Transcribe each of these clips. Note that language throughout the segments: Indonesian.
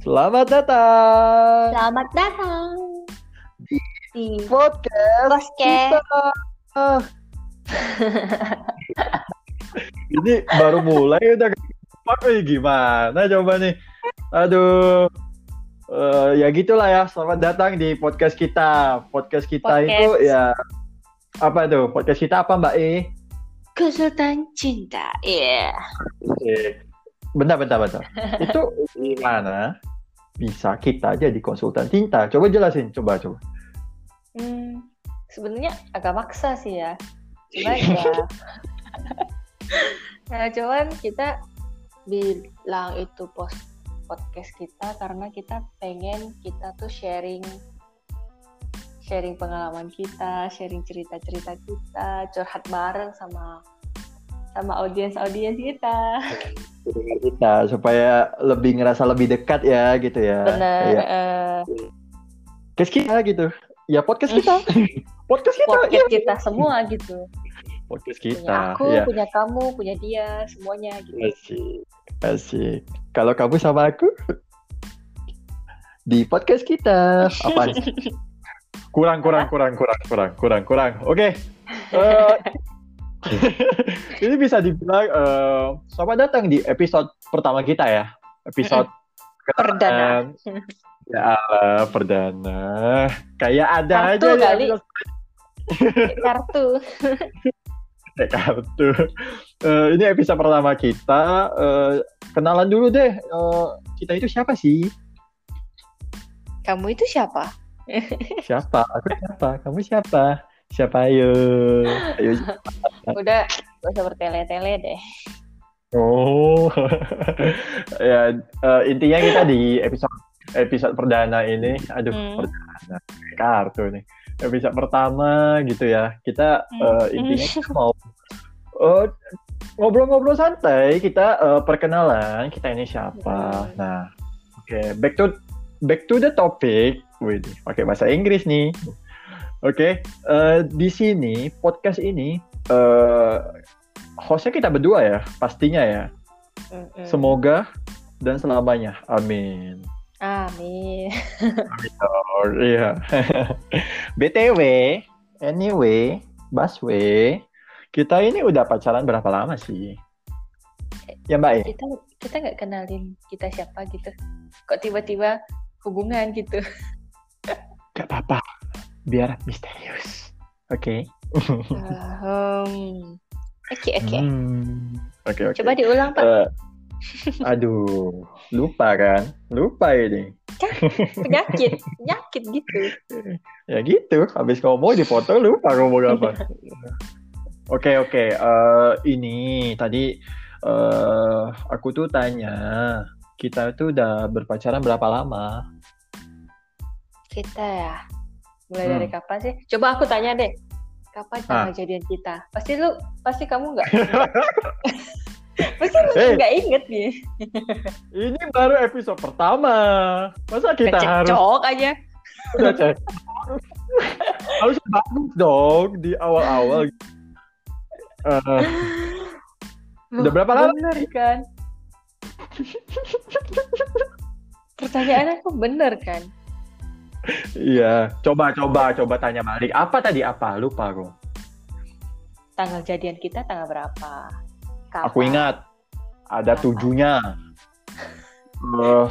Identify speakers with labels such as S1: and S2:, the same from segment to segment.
S1: Selamat datang
S2: Selamat datang
S1: Di-
S2: di
S1: podcast
S2: podcast.
S1: kita. Ini baru mulai udah apa gimana coba nih? Aduh. Eh, ya gitulah ya. Selamat datang di podcast kita. Podcast kita
S2: Podcast.
S1: itu ya apa tuh? Podcast kita apa Mbak E?
S2: Kesultan Cinta. Iya.
S1: Oke. Bentar, bentar, bentar. Itu gimana bisa kita jadi konsultan cinta? Coba jelasin, coba, coba.
S2: Hmm, sebenarnya agak maksa sih ya. Cuman ya. nah, cuman kita bilang itu pos podcast kita karena kita pengen kita tuh sharing sharing pengalaman kita, sharing cerita-cerita kita, curhat bareng sama sama audiens-audiens kita.
S1: kita supaya lebih ngerasa lebih dekat ya gitu ya.
S2: Bener.
S1: Iya.
S2: eh,
S1: Podcast kita gitu. Ya podcast kita. podcast kita.
S2: podcast
S1: iya.
S2: kita semua gitu.
S1: Podcast
S2: Punya
S1: kita. iya.
S2: aku,
S1: ya.
S2: punya kamu, punya dia, semuanya gitu.
S1: Asik. Asik. Kalau kamu sama aku di podcast kita apa? kurang kurang kurang kurang kurang kurang kurang. Oke. Eh, ini bisa dibilang eh, selamat datang di episode pertama kita ya. Episode
S2: Perdana.
S1: keren. Ya Allah, perdana. Kayak ada
S2: Kartu
S1: aja
S2: kali.
S1: yang
S2: Kartu.
S1: pakai kartu. Eh, ini episode pertama kita. Eh, kenalan dulu deh. Eh, kita itu siapa sih?
S2: Kamu itu siapa?
S1: Siapa? Aku siapa? Kamu siapa? Siapa ayo? Ayo.
S2: Udah gak usah bertele-tele deh.
S1: Oh. ya eh, intinya kita di episode episode perdana ini, aduh
S2: Hmm.
S1: perdana pakai kartu nih. Episode pertama gitu ya. Kita eh,
S2: Hmm.
S1: intinya kita mau eh, ngobrol-ngobrol santai, kita eh, perkenalan, kita ini siapa.
S2: Hmm.
S1: Nah, oke, back to back to the topic. Wih, pakai bahasa Inggris nih. Oke, eh, di sini podcast ini eh hostnya kita berdua ya, pastinya ya.
S2: Mm-mm.
S1: Semoga dan selamanya. Amin.
S2: Amin.
S1: Iya. Oh, iya. BTW, anyway, Baswe, kita ini udah pacaran berapa lama sih? Ya Mbak E?
S2: Kita kita nggak kenalin kita siapa gitu. Kok tiba-tiba hubungan gitu.
S1: Gak apa-apa, biar misterius. Oke.
S2: Ahem. Oke oke.
S1: Hmm. Oke oke.
S2: Coba diulang Pak.
S1: Eh, aduh, lupa kan? Lupa ini.
S2: Penyakit, penyakit gitu.
S1: Ya gitu, habis ngomong dipotong lupa ngomong apa. Oke oke, Eh, ini tadi eh aku tuh tanya kita tuh udah berpacaran berapa lama?
S2: Kita ya. Mulai
S1: Hmm. Ah.
S2: dari kapan sih? Coba aku tanya deh. Kapan tanggal jadian kita? Pasti lu, pasti kamu nggak. pasti lu
S1: Eh.
S2: nggak inget nih.
S1: Ini baru episode pertama, masa kita harus
S2: Cocok aja.
S1: udah cek? harus bagus dong di awal-awal. Eh, Udah berapa lama?
S2: Bener kan? Pertanyaan aku bener kan?
S1: iya, coba coba coba tanya balik. Apa tadi apa? Lupa aku.
S2: Tanggal jadian kita tanggal berapa? Kapan?
S1: Aku ingat ada
S2: Apa?
S1: tujuhnya. Eh,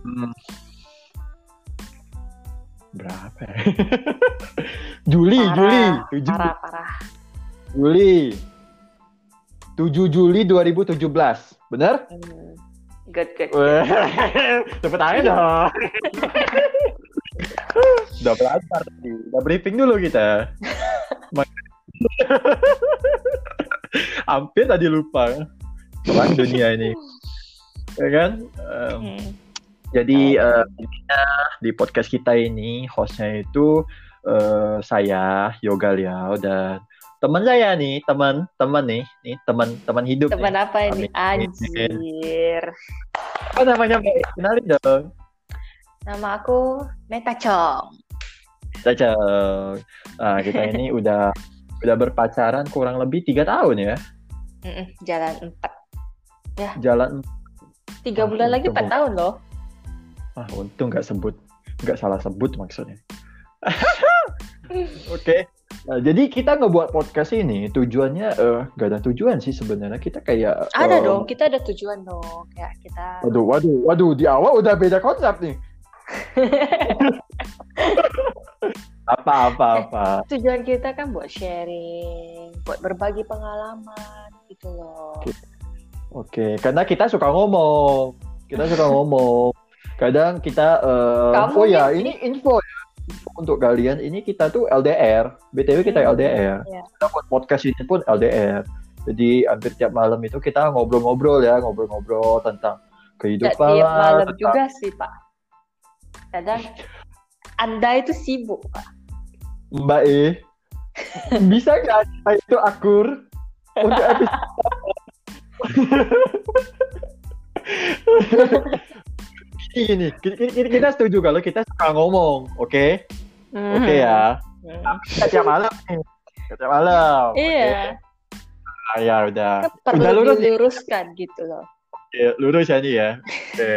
S1: hmm. berapa? ya? Juli,
S2: Parah,
S1: Juli, tujuh
S2: Parah, parah.
S1: Juli, tujuh Juli 2017, benar?
S2: Hmm. Good, good.
S1: Weh, Cepet aja dong. Udah belajar tadi, udah briefing dulu kita. Mak- Hampir tadi lupa. Kemana dunia ini? Ya kan? Em,
S2: Hmm.
S1: jadi
S2: Oh.
S1: eh, intinya di podcast kita ini hostnya itu eh, saya Yoga Liao dan teman saya nih teman teman nih nih teman teman hidup
S2: Teman
S1: nih.
S2: apa ini?
S1: Amin.
S2: Anjir.
S1: apa namanya Mbak? kenalin dong
S2: Nama aku Meta Chong.
S1: Caca nah, kita ini udah udah berpacaran kurang lebih tiga tahun ya
S2: Mm-mm, Jalan 4.
S1: jalan Ah,
S2: tiga bulan lagi
S1: itu
S2: 4
S1: bu-
S2: tahun loh.
S1: Ah, untung nggak sebut, nggak salah sebut maksudnya. Oke, Nah, jadi kita ngebuat podcast ini tujuannya eh nggak ada tujuan sih sebenarnya. Kita kayak eh,
S2: Ada dong, kita ada tujuan dong. Ya, kita
S1: Waduh, waduh, waduh, di awal udah beda konsep nih. apa, apa, apa.
S2: tujuan kita kan buat sharing, buat berbagi pengalaman gitu loh.
S1: Oke. Oke, karena kita suka ngomong, kita suka ngomong. Kadang kita, eh,
S2: Kamu
S1: oh ya,
S2: nih.
S1: ini info ya. Info untuk kalian, ini kita tuh LDR. BTW kita
S2: Hmm,
S1: LDR.
S2: iya.
S1: Kita buat podcast ini pun LDR. Jadi hampir tiap malam itu kita ngobrol-ngobrol ya, ngobrol-ngobrol tentang
S2: Nggak
S1: kehidupan.
S2: tiap malam
S1: tentang-
S2: juga sih Pak. Kadang Anda itu sibuk Pak.
S1: Mbak E, bisa nggak cerita itu akur untuk episode? Gini, gini, gini, gini, gini, kita setuju kalau kita suka ngomong, oke? Oke ya.
S2: Hmm.
S1: Kita tiap malam nih. Kita tiap malam. oke?
S2: Iya.
S1: Ah, ya udah.
S2: Kan perlu
S1: Udah lurus ya?
S2: diluruskan gitu loh.
S1: Ya, lurus ya nih ya. Oke.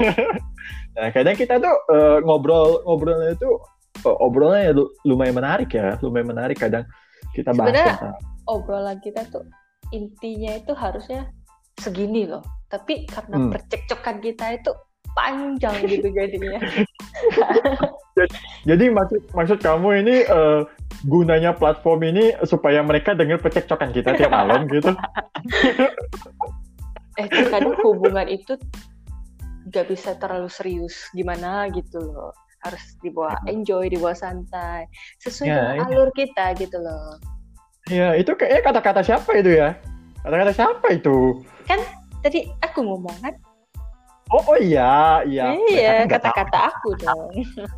S1: nah, kadang kita tuh eh, ngobrol ngobrolnya itu eh, obrolannya lu- lumayan menarik ya, lumayan menarik kadang kita bahas
S2: Sebenarnya-
S1: tentang
S2: Obrolan kita tuh intinya itu harusnya segini loh. Tapi karena
S1: Hmm.
S2: percekcokan kita itu panjang gitu jadinya.
S1: Jadi maksud maksud kamu ini eh, gunanya platform ini supaya mereka dengar percekcokan kita tiap malam gitu.
S2: eh kadang hubungan itu gak bisa terlalu serius gimana gitu loh harus dibawa enjoy dibawa santai sesuai
S1: Hmm. Ya,
S2: dengan
S1: iya.
S2: alur kita gitu loh
S1: Iya, itu kayaknya kata-kata siapa itu ya? Kata-kata siapa itu?
S2: tadi aku ngomong kan
S1: Oh, oh iya, iya. Mereka
S2: iya
S1: kan nggak tahu.
S2: kata-kata aku dong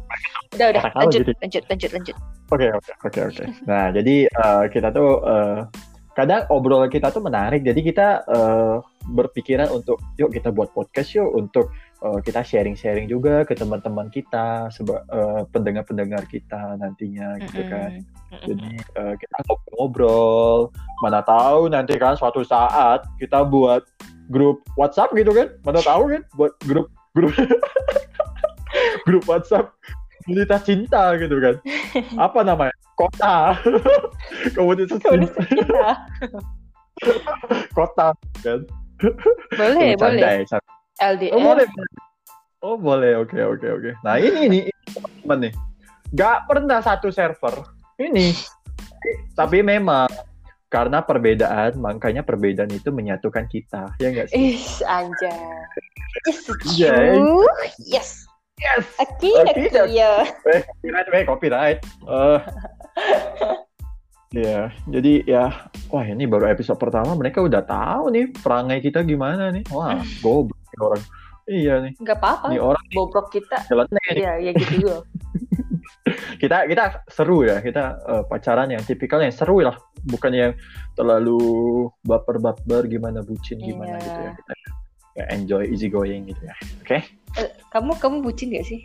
S2: udah udah
S1: Kata-kata
S2: lanjut,
S1: gitu.
S2: lanjut lanjut lanjut
S1: Oke, oke, oke, oke. Nah, jadi eh, kita tuh eh, kadang obrolan kita tuh menarik. Jadi kita eh, berpikiran untuk yuk kita buat podcast yuk untuk eh, kita sharing-sharing juga ke teman-teman kita, seba- eh, pendengar-pendengar kita nantinya gitu kan.
S2: Mm-mm.
S1: Jadi eh, kita ngobrol, mana tahu nanti kan suatu saat kita buat grup WhatsApp gitu kan, mana tahu kan buat grup grup grup WhatsApp komunitas cinta gitu kan. Apa namanya? Kota. komunitas
S2: Tuh, udah
S1: cinta,
S2: cerita. kota
S1: kan?
S2: boleh
S1: Bercanda
S2: boleh
S1: ya, Sar.
S2: LDR
S1: Oh boleh. Oh boleh, oke oke oke. Nah ini nih ini teman nih, nggak pernah satu server ini. Tapi memang karena perbedaan, makanya perbedaan itu menyatukan kita, ya nggak sih?
S2: ih anjay yes
S1: Iya, iya.
S2: true. yes
S1: Yes.
S2: Aki,
S1: Aki,
S2: aki, ya.
S1: Copyright, weh, copyright. Eh. Ya, jadi ya, wah ini baru episode pertama mereka udah tahu nih perangai kita gimana nih. Wah, goblok nih orang. Iya nih, ini
S2: Gak apa-apa,
S1: orang
S2: bobrok kita
S1: jalan nih.
S2: Iya, ya gitu juga.
S1: kita kita seru ya kita eh, pacaran yang tipikal yang seru lah bukan yang terlalu baper-baper gimana bucin gimana
S2: Iya.
S1: gitu ya kita ya, enjoy easy going gitu ya oke
S2: Eh, kamu kamu bucin gak sih?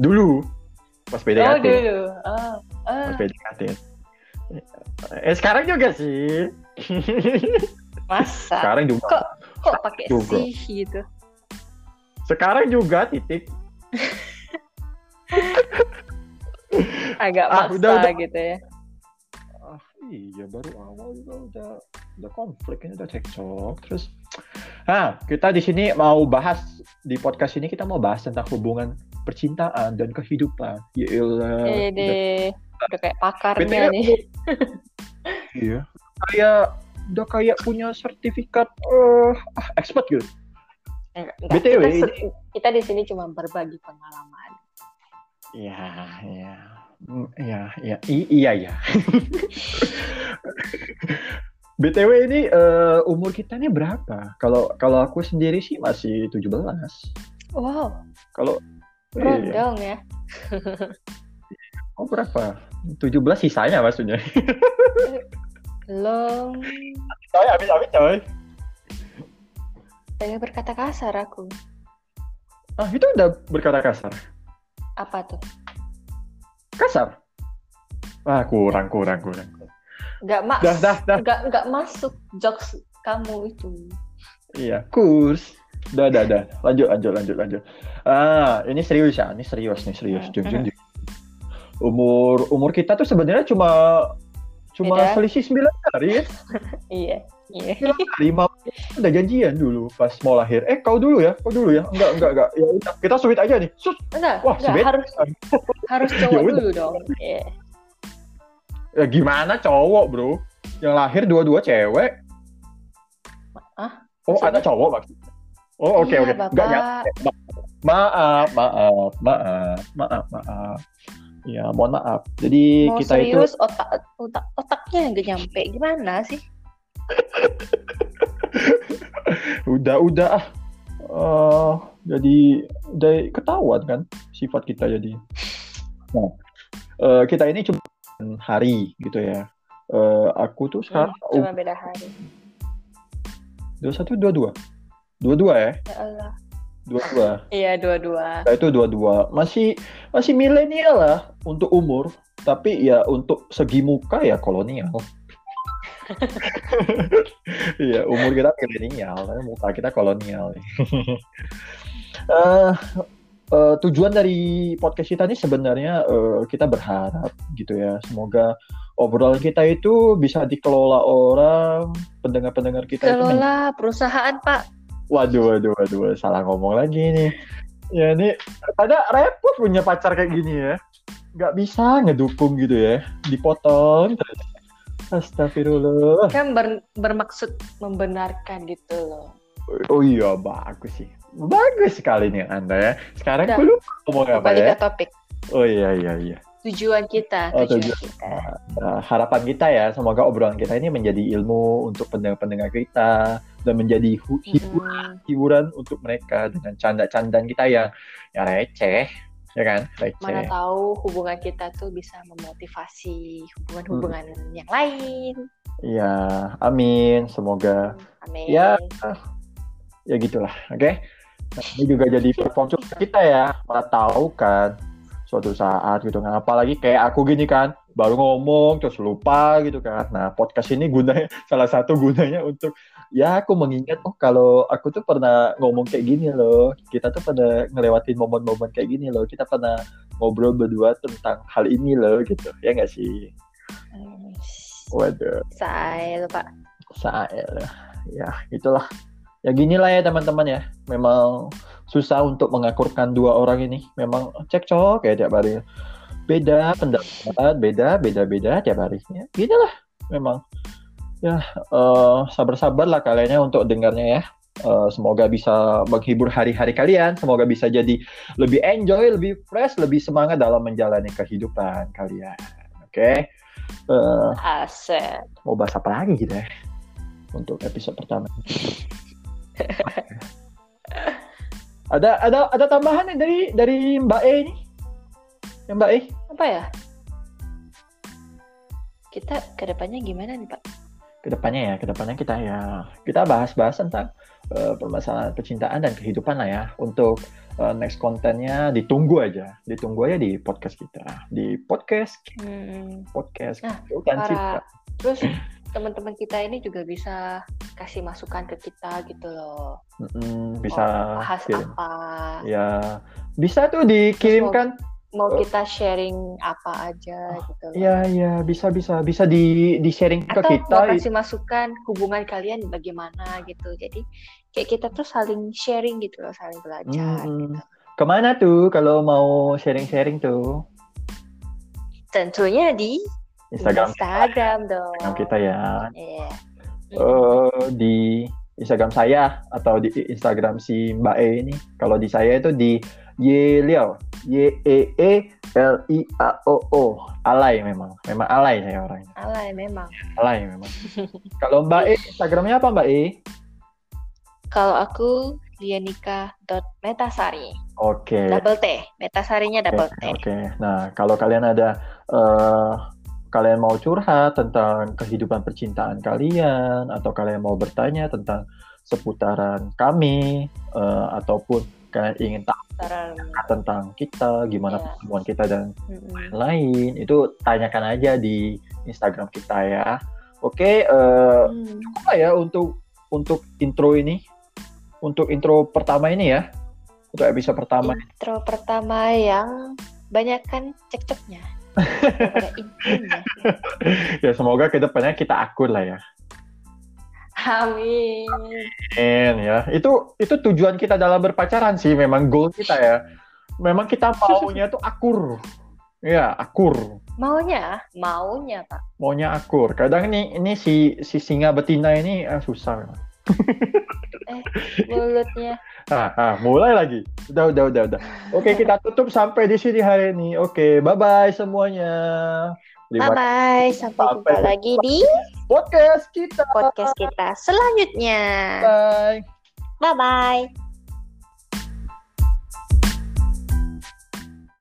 S1: dulu pas
S2: Oh,
S1: PDKT
S2: dulu. Oh, ah,
S1: pas PDKT eh sekarang juga sih
S2: masa?
S1: sekarang juga
S2: Kok- Kok pakai
S1: Juga.
S2: sih gitu?
S1: sekarang juga titik
S2: Agak
S1: Ah,
S2: maksa
S1: udah, udah.
S2: gitu ya.
S1: ah, iya baru awal juga udah udah konflik ini udah cekcok terus ah kita di sini mau bahas di podcast ini kita mau bahas tentang hubungan percintaan dan kehidupan ya iyalah.
S2: Eh, deh. Udah kayak pakarnya
S1: Btw,
S2: nih.
S1: iya kayak udah kayak punya sertifikat eh ah, expert gitu
S2: Enggak, enggak.
S1: BTW,
S2: Kita, se- kita di sini cuma berbagi pengalaman.
S1: Iya, iya. Mm, Iya, iya, I- iya, iya. BTW ini eh, umur kita ini berapa? Kalau kalau aku sendiri sih masih 17.
S2: Wow,
S1: Kalau
S2: rondong
S1: iya.
S2: ya.
S1: Oh, berapa? 17 sisanya maksudnya.
S2: Belum.
S1: Coy, habis habis coy.
S2: Saya berkata kasar aku.
S1: Ah, itu udah berkata kasar.
S2: Apa tuh?
S1: Kasar. Ah, kurang kurang kurang.
S2: Gak mas.
S1: Dah, dah, dah.
S2: Gak, gak masuk jokes kamu itu.
S1: Iya, kurs. Udah, udah, udah. Lanjut, lanjut, lanjut, lanjut. Ah, ini serius ya, ini serius nih, serius. Jujur, jujur. Umur umur kita tuh sebenarnya cuma cuma
S2: Beda.
S1: selisih 9 hari ya.
S2: Iya, iya.
S1: 9 hari mau udah janjian dulu pas mau lahir. Eh, kau dulu ya, kau dulu ya. Enggak, enggak, enggak. Ya udah, kita sweet aja nih. Sus.
S2: Enggak,
S1: Wah, si
S2: enggak
S1: Bet-
S2: harus harus cowok
S1: Ya udah.
S2: dulu dong. Iya.
S1: Ya gimana cowok, Bro? Yang lahir dua-dua cewek. Oh,
S2: Hah? Ah, Maksudnya?
S1: ada cowok maksudnya. Oh, oke,
S2: Iya,
S1: oke. Enggak, ya.
S2: Bapak.
S1: Maaf, maaf, maaf, maaf, maaf. Ya, mohon maaf. Jadi
S2: Mau
S1: kita itu
S2: serius otak otak otaknya nggak nyampe gimana sih?
S1: udah udah ah Eh, jadi udah ketahuan kan sifat kita jadi nah eh, kita ini cuma hari gitu ya Eh, aku tuh
S2: Hmm,
S1: sekarang
S2: cuma beda hari.
S1: dua satu dua dua dua dua ya
S2: Ya Allah.
S1: dua dua
S2: Iya, dua-dua.
S1: Nah, itu dua-dua masih masih milenial lah untuk umur, tapi ya untuk segi muka ya kolonial. Iya, umur kita milenial, tapi muka kita kolonial. Eh, eh, tujuan dari podcast kita ini sebenarnya eh, kita berharap gitu ya, semoga obrolan kita itu bisa dikelola orang pendengar-pendengar kita itu
S2: Kelola perusahaan, Pak.
S1: Waduh, waduh, waduh, salah ngomong lagi nih. Ya ini ada repot punya pacar kayak gini ya. Nggak bisa ngedukung gitu ya. Dipotong terus. Astagfirullah.
S2: Kan ber- bermaksud membenarkan gitu loh.
S1: Oh iya, bagus sih. Bagus sekali nih Anda ya. Sekarang
S2: Udah.
S1: aku lupa ngomong apa
S2: Kembali
S1: ya.
S2: ke topik.
S1: Oh iya, iya, iya.
S2: Tujuan kita,
S1: Oh,
S2: tujuan
S1: tujuan.
S2: kita.
S1: Nah, harapan kita ya, semoga obrolan kita ini menjadi ilmu untuk pendengar-pendengar kita. Dan menjadi hu-
S2: Hmm.
S1: hiburan,
S2: Mm-mm.
S1: hiburan untuk mereka dengan canda-candaan kita yang, yang receh. Ya kan? Receh.
S2: Mana tahu hubungan kita tuh bisa memotivasi hubungan-hubungan
S1: Hmm.
S2: yang lain.
S1: Iya, amin. Semoga
S2: Amin.
S1: Ya. ya gitulah, oke? Nah, ini juga jadi platform curhat kita ya, mana tahu kan suatu saat gitu kan. Apalagi kayak aku gini kan, baru ngomong terus lupa gitu kan. Nah, podcast ini gunanya salah satu gunanya untuk ya aku mengingat oh kalau aku tuh pernah ngomong kayak gini loh. Kita tuh pernah ngelewatin momen-momen kayak gini loh. Kita pernah ngobrol berdua tentang hal ini loh gitu. Ya nggak sih?
S2: Hmm,
S1: Waduh.
S2: Saya lupa.
S1: Sael ya. ya itulah ya ginilah ya teman-teman ya memang susah untuk mengakurkan dua orang ini memang cekcok ya tiap hari beda pendapat beda beda beda tiap hari ya ginilah memang ya eh, sabar-sabarlah kaliannya untuk dengarnya ya Eh, semoga bisa menghibur hari-hari kalian semoga bisa jadi lebih enjoy lebih fresh lebih semangat dalam menjalani kehidupan kalian oke Eh,
S2: Aset.
S1: mau bahas apa lagi kita ya untuk episode pertama. ada ada ada tambahan nih dari dari Mbak E ini? Ya, Mbak E,
S2: Apa ya? Kita kedepannya gimana nih, Pak?
S1: kedepannya ya, kedepannya kita ya kita bahas-bahas tentang eh, permasalahan percintaan dan kehidupan lah ya. Untuk eh, next kontennya ditunggu aja, ditunggu aja di podcast kita, di podcast
S2: Hmm.
S1: podcast kan
S2: Nah,
S1: kehidupan
S2: para-
S1: cinta.
S2: Terus teman-teman kita ini juga bisa kasih masukan ke kita gitu loh.
S1: Mm-mm,
S2: Mau
S1: bisa
S2: Oh, bahas
S1: kirim.
S2: apa?
S1: Ya, bisa tuh dikirimkan
S2: Mau kita sharing apa aja gitu loh.
S1: Eh, Iya, iya, bisa, bisa, bisa di, di sharing ke
S2: atau
S1: kita.
S2: mau kasih masukan hubungan kalian bagaimana gitu jadi kayak kita tuh saling sharing gitu loh saling belajar gitu.
S1: Mm-mm. Kemana tuh kalau mau sharing-sharing tuh?
S2: tentunya di
S1: Instagram,
S2: Instagram dong
S1: Instagram kita ya.
S2: Iya.
S1: Eh di Instagram saya atau di Instagram si Mbak E ini. Kalau di saya itu di Yeliao, Y E E L I A O O. Alay memang, memang alay saya orangnya.
S2: alay memang
S1: Alay memang. kalau Mbak E Instagramnya apa Mbak E?
S2: kalau aku lianika.metasari
S1: Oke.
S2: double T metasarinya double
S1: Oke,
S2: T
S1: Oke, nah kalau kalian ada eh, kalian mau curhat tentang kehidupan percintaan kalian atau kalian mau bertanya tentang seputaran kami eh, ataupun kalian ingin tahu
S2: Taran-
S1: tentang kita gimana
S2: Iya.
S1: pertemuan kita dan
S2: Mm-mm.
S1: lain itu tanyakan aja di Instagram kita ya. Oke, eh,
S2: Hmm.
S1: apa ya untuk untuk intro ini untuk intro pertama ini ya. Untuk episode pertama.
S2: Intro pertama yang banyak kan cekcoknya. Daripada intinya.
S1: ya semoga ke depannya kita akur lah ya.
S2: Amin.
S1: Amin, ya. Itu itu tujuan kita dalam berpacaran sih memang goal kita ya. Memang kita maunya tuh akur. Ya, akur.
S2: Maunya, maunya Pak.
S1: Maunya akur. Kadang nih ini si si singa betina ini eh, susah. memang.
S2: Mulutnya.
S1: Ah, ah, mulai lagi. Udah, udah, udah, udah. Oke, kita tutup sampai di sini hari ini. Oke, bye-bye semuanya.
S2: Bye
S1: Terima kasih
S2: bye. Sampai jumpa
S1: Sampai
S2: lagi di
S1: podcast kita.
S2: podcast kita selanjutnya.
S1: Bye.
S2: Bye bye.